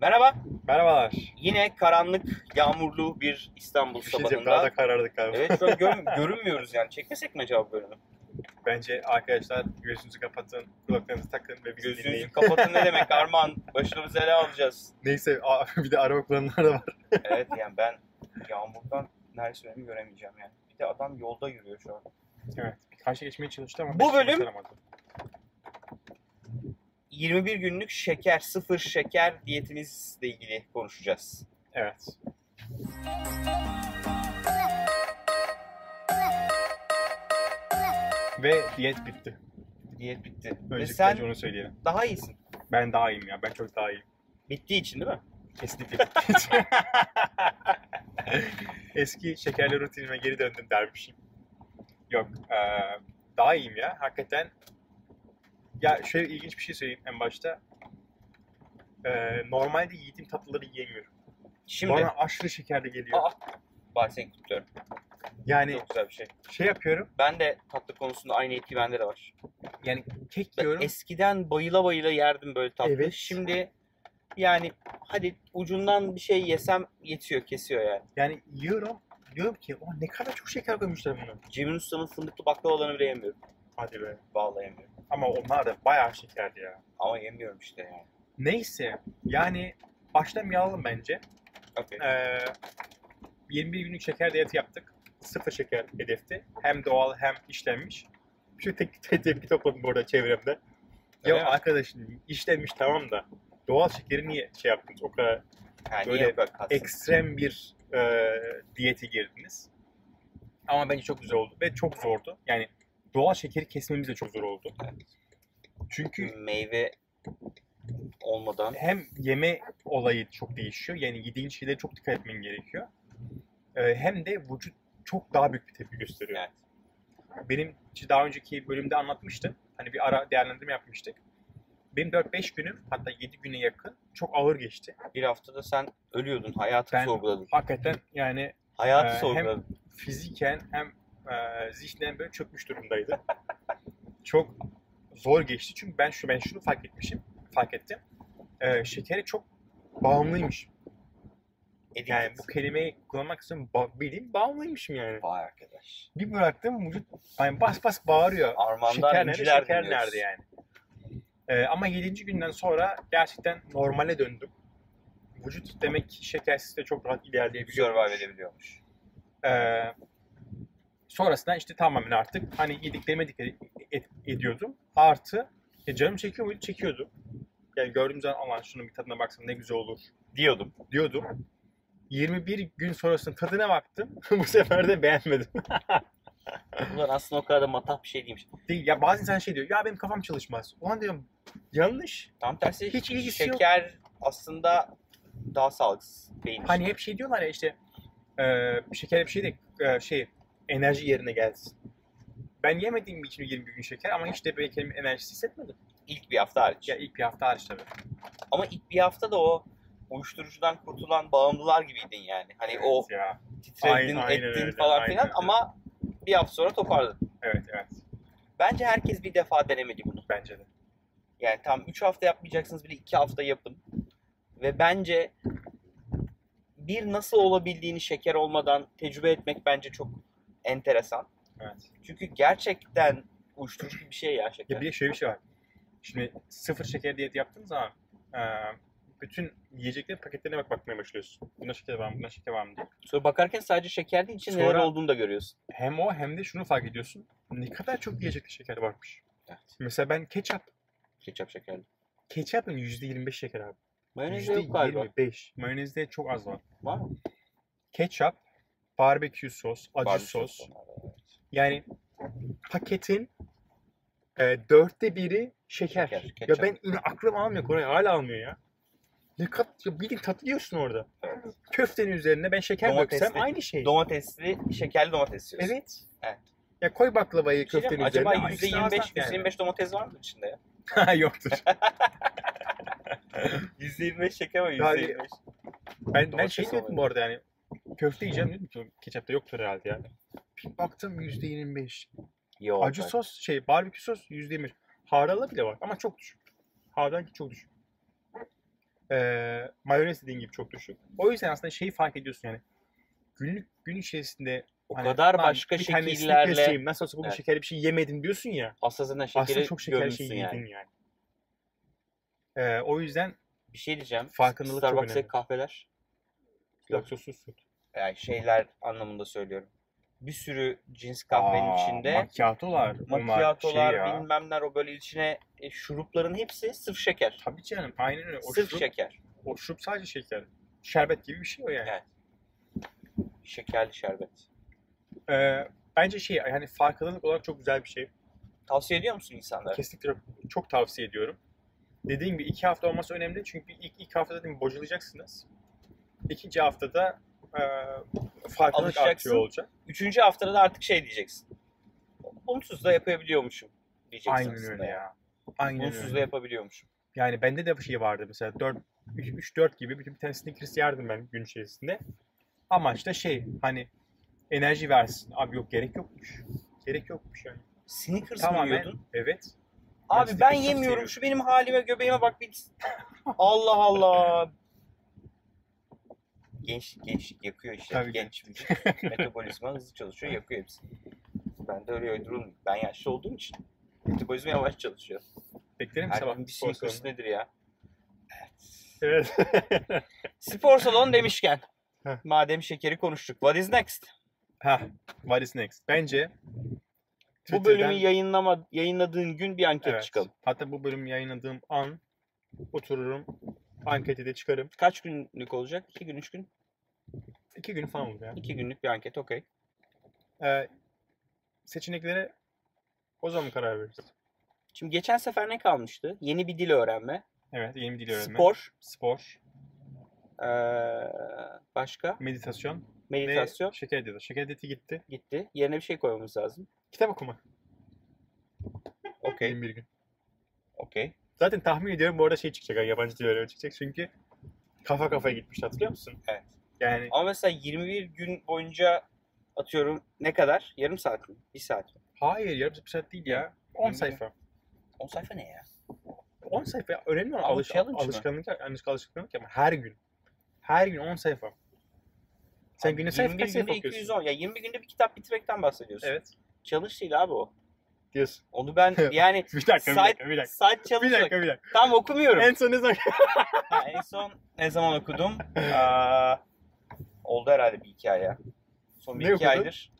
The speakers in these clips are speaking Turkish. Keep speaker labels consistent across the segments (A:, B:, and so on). A: Merhaba.
B: Merhabalar.
A: Yine karanlık, yağmurlu bir İstanbul
B: Bir şey diyeceğim. Daha
A: sabahında.
B: da karardık galiba.
A: Evet şu an gör- görünmüyoruz yani. Çekmesek mi acaba bu bölümü?
B: Bence arkadaşlar gözünüzü kapatın, kulaklarınızı takın ve bizi
A: Gözünüzü
B: dinleyin.
A: kapatın ne demek Arman? Başımızı ele alacağız.
B: Neyse aa, bir de araba kullananlar da var.
A: Evet yani ben yağmurdan neredeyse önümü göremeyeceğim yani. Bir de adam yolda yürüyor şu an.
C: Evet. Karşı geçmeye çalıştı ama
A: Bu
C: pek
A: bölüm-
C: başaramadı.
A: 21 günlük şeker, sıfır şeker diyetinizle ilgili konuşacağız.
C: Evet.
B: Ve diyet bitti.
A: Diyet bitti. Ve
B: Öncelikle
A: sen
B: önce onu söyleyelim.
A: daha iyisin.
B: Ben daha iyiyim ya. Ben çok daha iyiyim.
A: Bittiği için değil mi?
B: Kesinlikle. Eski şekerli rutinime geri döndüm dermişim. Yok. eee, daha iyiyim ya. Hakikaten. Ya şöyle ilginç bir şey söyleyeyim en başta. Eee, normalde yediğim tatlıları yiyemiyorum.
A: Şimdi
B: Bana aşırı şekerli geliyor.
A: Aa, bari seni kutluyorum.
B: yani
A: Çok güzel bir şey.
B: şey yapıyorum.
A: Ben de tatlı konusunda aynı etki bende de var.
B: Yani kek
A: Ben
B: yiyorum.
A: eskiden bayıla bayıla yerdim böyle tatlı.
B: Evet.
A: Şimdi yani hadi ucundan bir şey yesem yetiyor, kesiyor yani.
B: Yani yiyorum. Diyorum ki o ne kadar çok şeker koymuşlar buna.
A: Cemil Usta'nın fındıklı baklavalarını bile yemiyorum.
B: Hadi be.
A: Vallahi yemiyorum.
B: Ama onlar da bayağı şekerdi ya.
A: Ama yemiyorum işte yani.
B: Neyse. Yani başlamayalım bence.
A: Okay.
B: Ee, 21 günlük şeker diyeti yaptık. Sıfır şeker hedefti. Hem doğal hem işlenmiş. Şu tek tek tepki topladım burada çevremde. Ya
A: Öyle mi?
B: arkadaşım işlenmiş tamam da doğal şekeri niye şey yaptınız? O kadar
A: Yani
B: böyle
A: niye böyle kalsın?
B: ekstrem bir e, diyete girdiniz. Ama bence çok güzel oldu ve çok zordu. Yani doğal şekeri kesmemiz de çok zor oldu. Çünkü
A: meyve olmadan
B: hem yeme olayı çok değişiyor. Yani yediğin şeylere çok dikkat etmen gerekiyor. E, hem de vücut çok daha büyük bir tepki gösteriyor.
A: Evet.
B: Benim işte daha önceki bölümde anlatmıştım. Hani bir ara değerlendirme yapmıştık. Benim 4-5 günüm hatta 7 güne yakın çok ağır geçti.
A: bir haftada sen ölüyordun, hayatı
B: Ben-
A: sorguladın.
B: Hakikaten yani
A: Hayatı
B: Ee, hem-
A: sorguladın.
B: fiziken hem e, zihnen böyle çökmüş durumdaydı. çok zor geçti çünkü ben şu ben şunu fark etmişim, fark ettim. E, şekere çok bağımlıymış.
A: Edildi.
B: Yani bu kelimeyi kullanmak istiyorum. Ba- bildiğin bağımlıymışım yani.
A: Vay arkadaş.
B: Bir bıraktım vücut yani bas bas bağırıyor.
A: Armandan
B: Şeker nerede,
A: inciler
B: şeker
A: dinliyoruz.
B: nerede yani. E, ama 7. günden sonra gerçekten normale döndüm. Vücut demek ki şekersiz de çok rahat ilerleyebiliyor.
A: Survive edebiliyormuş.
B: Ee, sonrasında işte tamamen artık hani yediklerime dikkat et- ediyordum. Artı e, canım çekiyor muydu? Çekiyordu. Yani gördüğüm zaman aman şunun bir tadına baksam ne güzel olur
A: Diyordum.
B: diyordum. 21 gün sonrasında tadına baktım. Bu sefer de beğenmedim.
A: Bunlar aslında o kadar da matah bir şey değilmiş.
B: Değil, ya bazı insan şey diyor. Ya benim kafam çalışmaz. Ulan diyorum yanlış.
A: Tam tersi
B: Hiç ilgisi yok.
A: şeker aslında daha sağlıksız beyin için.
B: Hani hep şey diyorlar ya işte e, şeker bir şey de e, şey enerji yerine gelsin. Ben yemediğim için 21 gün şeker ama hiç de böyle kendimi enerjisi hissetmedim.
A: ilk bir hafta hariç.
B: Ya ilk bir hafta hariç tabii.
A: Ama ilk bir hafta da o uyuşturucudan kurtulan bağımlılar gibiydin yani. Hani o
B: Evet ya.
A: titredin,
B: Aynen- aynen
A: ettin
B: öyle,
A: falan
B: aynen
A: filan
B: öyle.
A: ama bir hafta sonra toparladın.
B: Evet evet
A: Bence herkes bir defa denemedi bunu.
B: bence de.
A: Yani tam 3 hafta yapmayacaksınız bile 2 hafta yapın. Ve bence bir nasıl olabildiğini şeker olmadan tecrübe etmek bence çok enteresan.
B: Evet.
A: Çünkü gerçekten uyuşturucu gibi bir şey ya şeker.
B: Ya bir de şöyle bir şey var. Şimdi sıfır şeker diyeti yaptığın zaman e, bütün yiyeceklerin paketlerine bak bakmaya başlıyorsun. Buna şeker var mı, buna şeker var mı diye.
A: Sonra bakarken sadece şeker değil içinde neler
B: Sonra-
A: olduğunu da görüyorsun.
B: Hem o hem de şunu fark ediyorsun. Ne kadar çok yiyecekte şeker varmış.
A: Evet.
B: Mesela ben ketçap.
A: Ketçap şekerli.
B: Ketçapın %25 şeker abi.
A: Mayonezde yok galiba.
B: %25. Mayonezde çok az var.
A: Var mı?
B: Ketçap, barbekü sos, acı
A: Barbie
B: sos.
A: var, evet.
B: Yani paketin e, dörtte biri şeker.
A: Şeker,
B: ya
A: ketçap.
B: ben yine aklım almıyor Koray hala almıyor ya. Ne kat, ya bildiğin tatlı yiyorsun orada.
A: Evet.
B: Köftenin üzerine ben şeker
A: Domatesli.
B: döksem aynı şey.
A: Domatesli, şekerli domates yiyorsun.
B: evet.
A: Evet.
B: Ya koy baklavayı
A: Bir şey
B: köftenin
A: diyeyim mi?
B: üzerine.
A: Acaba
B: Ay,
A: %25,
B: işte ağızdan yani.
A: %25 domates var mı içinde ya?
B: Ha, Yoktur.
A: %25 şeker var
B: Yani-
A: %25.
B: Ben, ben
A: Domates
B: şey diyordum
A: olabilir.
B: bu arada yani. Köfte yiyeceğim dedim ki ketçapta yoktur herhalde yani. Bir baktım %25.
A: Yok.
B: Acı sos şey barbekü sos %25. Hardalla bile var ama çok düşük. Hardal çok düşük. Ee, mayonez dediğin gibi çok düşük. O yüzden aslında şeyi fark ediyorsun yani. Günlük gün içerisinde
A: O
B: hani,
A: kadar
B: "Lan
A: başka
B: bir tane sneak
A: şekillerle
B: yeseyim, Nasıl olsa bugün
A: Evet.
B: şekerli bir şey yemedim diyorsun ya.
A: asasına
B: aslında
A: şekeri
B: çok şekerli şey
A: gömüyorsun
B: yedin
A: yani.
B: yani. Ee, o yüzden
A: Bir şey diyeceğim.
B: Farkındalık çok
A: Starbucks'taki
B: önemli.
A: kahveler Yok.
B: laktozsuz süt.
A: yani şeyler anlamında söylüyorum. Bir sürü cins kahvenin içinde
B: Makyatolar.
A: macchiato'lar
B: şey
A: bilmemler o böyle içine e, şurupların hepsi sırf şeker.
B: Tabii canım aynen öyle. O
A: sırf
B: şurup,
A: şeker.
B: o şurup sadece şeker. Şerbet gibi bir şey o yani.
A: Evet. Şekerli şerbet.
B: Ee, bence şey yani farkındalık olarak çok güzel bir şey.
A: Tavsiye ediyor musun insanlara?
B: Kesinlikle çok tavsiye ediyorum. Dediğim gibi iki hafta olması önemli çünkü ilk, ilk hafta zaten bocalayacaksınız. İkinci haftada e, farkındalık
A: Alışacaksın.
B: artıyor olacak.
A: Üçüncü haftada da artık şey diyeceksin. Onsuz da yapabiliyormuşum diyeceksin
B: Aynen
A: aslında
B: öyle
A: yani.
B: ya. Aynen
A: Onsuz da
B: öyle.
A: yapabiliyormuşum.
B: Yani bende de bir şey vardı mesela 4 3-4 gibi bir, bir tane Snickers yerdim ben gün içerisinde. Amaç da şey hani enerji versin. Abi yok gerek yokmuş. Gerek yokmuş yani.
A: Snickers mı
B: Tamamen
A: yiyordun?
B: evet.
A: Abi
B: Ben
A: ben
B: Snickers'ı
A: yemiyorum
B: seviyorum.
A: şu benim halime göbeğime bak bir. Allah Allah. Genç gençlik yakıyor işte.
B: Tabii
A: Genç vücut, metabolizma hızlı çalışıyor yakıyor hepsini. Ben de öyle öldürülmüyorum. Ben yaşlı olduğum için metabolizma yavaş çalışıyor.
B: Beklerim
A: Her
B: sabah.
A: gün bir şey
B: spor
A: Snickers
B: salonunda.
A: nedir ya?
B: Evet.
A: Spor salonu demişken.
B: Heh.
A: madem şekeri konuştuk. What is next?
B: ha, what is next? Bence
A: Bu
B: Twitter'dan-
A: bölümü yayınlama, yayınladığın gün bir anket
B: Evet.
A: çıkalım.
B: Hatta bu bölümü yayınladığım an otururum. Anketi de çıkarım.
A: Kaç günlük olacak? 2 gün, 3 gün?
B: İki gün falan oldu ya.
A: 2 günlük bir anket okey.
B: Ee, seçeneklere o zaman karar veririz.
A: Şimdi geçen sefer ne kalmıştı? Yeni bir dil öğrenme,
B: Evet yeni bir dil öğrenme.
A: spor,
B: Spor,
A: ee, başka
B: meditasyon
A: meditasyon
B: ve şeker diyeti. Şeker diyeti gitti.
A: gitti. Yerine bir şey koymamız lazım.
B: Kitap okumak.
A: Okey,
B: Benim bir gün.
A: okey.
B: Zaten tahmin ediyorum bu arada şey çıkacak. yani Yabancı dil öğrenme çıkacak. Çünkü kafa kafaya gitmiş hatırlıyor musun?
A: Evet.
B: Yani
A: Ama mesela 21 gün boyunca atıyorum ne kadar? Yarım saat mi? Bir saat mi?
B: hayır yarım bir saat değil ya. 10
A: Bilmiyorum.
B: sayfa.
A: 10 sayfa ne ya?
B: 10 sayfa önemli olan
A: Ama
B: alış,
A: challenge mı?
B: alışkanlık, alışkanlık, alışkanlık ama her gün. Her gün 10 sayfa. Sen
A: Abi
B: günde sayfa
A: 21
B: kaç sayfa
A: günde
B: okuyorsun?
A: 210. Ya 20 günde bir kitap bitirmekten bahsediyorsun.
B: Evet.
A: Challenge değil abi o.
B: Diyorsun.
A: Onu ben yani
B: Bir dakika, bir
A: Saat-
B: dakika, bir dakika.
A: saat
B: Bir
A: challenge olarak-
B: dakika, bir dakika.
A: Tam okumuyorum.
B: En son ne zaman?
A: Ha, en son ne zaman okudum? Aa, oldu herhalde bir iki ay ya. Son bir
B: Ne
A: iki
B: okudun?
A: aydır.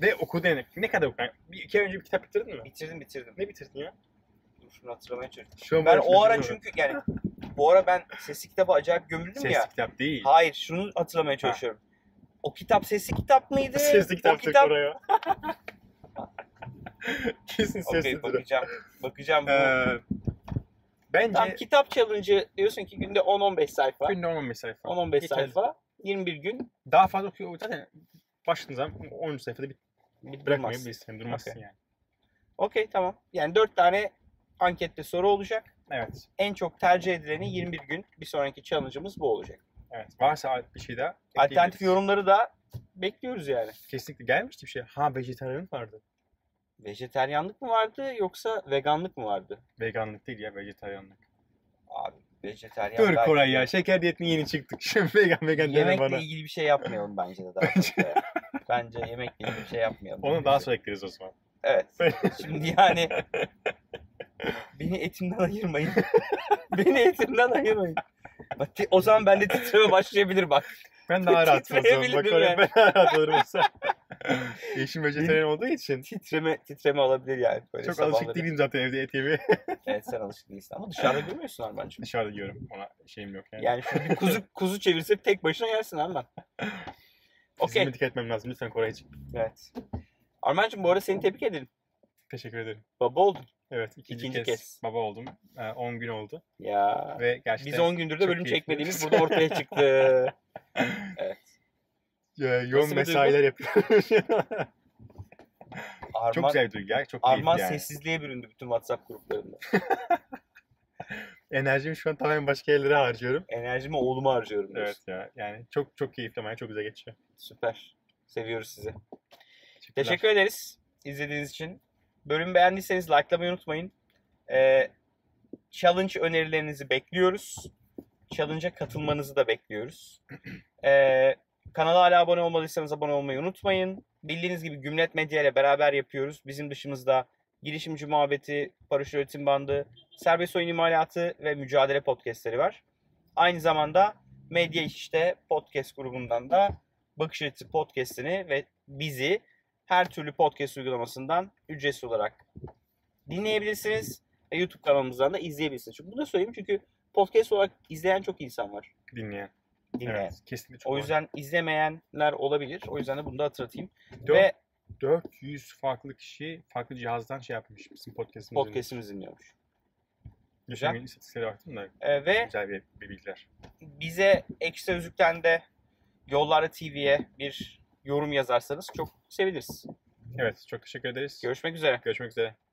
B: Ve okudun yani. Ne kadar okudun? Bir, iki ay önce bir kitap bitirdin mi?
A: Bitirdim bitirdim.
B: Ne bitirdin ya?
A: Dur şunu hatırlamaya çalışıyorum.
B: Şu an
A: Ben
B: bana
A: o ara
B: şaşırıyorum.
A: çünkü yani bu ara ben sesli kitaba acayip gömüldüm
B: Sesli
A: ya.
B: kitap değil.
A: Hayır şunu hatırlamaya çalışıyorum. O kitap sesli kitap mıydı?
B: Sesli
A: o
B: kitap tık
A: kitap...
B: oraya. Kesin sesli
A: Okey
B: okay,
A: bakacağım. Bakacağım. bu.
B: Ee, bence
A: Tam kitap challenge'ı diyorsun ki günde 10-15 sayfa.
B: günde 10-15 sayfa.
A: 10-15
B: Yeter.
A: sayfa. 21 gün
B: Daha fazla okuyor. Zaten başladığın zaman 10. sayfada bir
A: bitmez.
B: bırakmayabilirsin. Durmazsın yani.
A: Okey tamam. Yani 4 tane ankette soru olacak.
B: Evet.
A: en çok tercih edileni 21 gün bir sonraki challenge'ımız bu olacak.
B: Evet. Varsa bir şey daha.
A: Alternatif
B: ekleyebiliriz.
A: yorumları da bekliyoruz yani.
B: Kesinlikle gelmişti bir şey. Ha vejetaryenlik vardı.
A: Vejeteryanlık mı vardı yoksa veganlık mı vardı?
B: Veganlık değil ya vejetaryenlik.
A: Abi vejeteryan
B: Dur
A: belki-
B: Koray ya şeker diyetine yeni çıktık. Şimdi vegan vegan deme
A: Yemekle
B: bana.
A: ilgili bir şey yapmayalım bence de daha çok. ya. bence yemekle ilgili bir şey yapmayalım.
B: Onu daha sonra ekleriz o zaman.
A: Evet. Şimdi yani beni etimden ayırmayın. beni etimden ayırmayın. Bak, ti- o zaman bende titreme başlayabilir bak.
B: Ben daha rahat olurum. Bak
A: Titreyebilirim
B: Koray
A: yani.
B: ben daha rahat olurum. olsa. Eşim vejetaryen olduğu için.
A: Titreme titreme olabilir yani. Böyle
B: Çok
A: sabahları.
B: alışık değilim zaten evde et yemeye.
A: Evet sen alışık değilsin ama dışarıda görmüyorsun Armancığım.
B: Dışarıda yiyorum. Ona şeyim yok yani.
A: Yani şu bir kuzu kuzu çevirse tek başına yersin Arman.
B: Okey.
A: Okey.
B: dikkat etmem lazım. Lütfen Koraycığım.
A: Evet. Armancığım bu arada seni tebrik ederim.
B: Teşekkür ederim.
A: Baba oldun.
B: Evet ikinci,
A: İkinci
B: kez,
A: kez.
B: baba oldum. Ee, 10 gün oldu.
A: Ya.
B: Ve gerçekten
A: Biz 10 gündür de
B: çok
A: bölüm
B: keyifli.
A: çekmediğimiz burada ortaya çıktı.
B: Ya,
A: Nasıl
B: yoğun
A: bir
B: mesailer yapıyorum.
A: Arman,
B: çok güzel bir duygu ya. Çok keyifli
A: Arman
B: yani.
A: sessizliğe büründü bütün WhatsApp gruplarında.
B: Enerjimi şu an tamamen başka yerlere harcıyorum.
A: Enerjimi oğluma harcıyorum. diyorsun.
B: Evet ya. Yani çok çok keyifli ama çok güzel geçiyor.
A: Süper. Seviyoruz sizi.
B: Teşekkürler.
A: Teşekkür ederiz izlediğiniz için. Bölümü beğendiyseniz likelamayı unutmayın. Ee, Challenge önerilerinizi bekliyoruz. Challenge'a katılmanızı da bekliyoruz. Ee, kanala hala abone olmadıysanız abone olmayı unutmayın. Bildiğiniz gibi Gümlet Medya ile beraber yapıyoruz. Bizim dışımızda Girişimci Muhabbeti, Paraşüt Öğretim Bandı, Serbest Oyun İmalatı ve Mücadele Podcastleri var. Aynı zamanda Medya İşte Podcast grubundan da Bakış Açısı Podcast'ini ve bizi her türlü podcast uygulamasından ücretsiz olarak dinleyebilirsiniz. Ve YouTube kanalımızdan da izleyebilirsiniz. Çünkü bunu da söyleyeyim çünkü podcast olarak izleyen çok insan var.
B: dinleyen.
A: Dinleyen.
B: Evet, kesinlikle çok
A: O yüzden izlemeyenler olabilir. O yüzden de bunu da hatırlatayım.
B: Dört-
A: Ve
B: 400 farklı kişi farklı cihazdan şey yapmış bizim podcast'ımızın.
A: podcast'imizi dinliyormuş.
B: Geçen
A: güzel.
B: gün istatistiklere baktım da
A: Ee, ve
B: güzel bir, bir bilgiler.
A: bize Ekstra Üzük'ten de Yollarda TV'ye bir yorum yazarsanız çok seviniriz.
B: Evet çok teşekkür ederiz.
A: Görüşmek üzere.
B: Görüşmek üzere.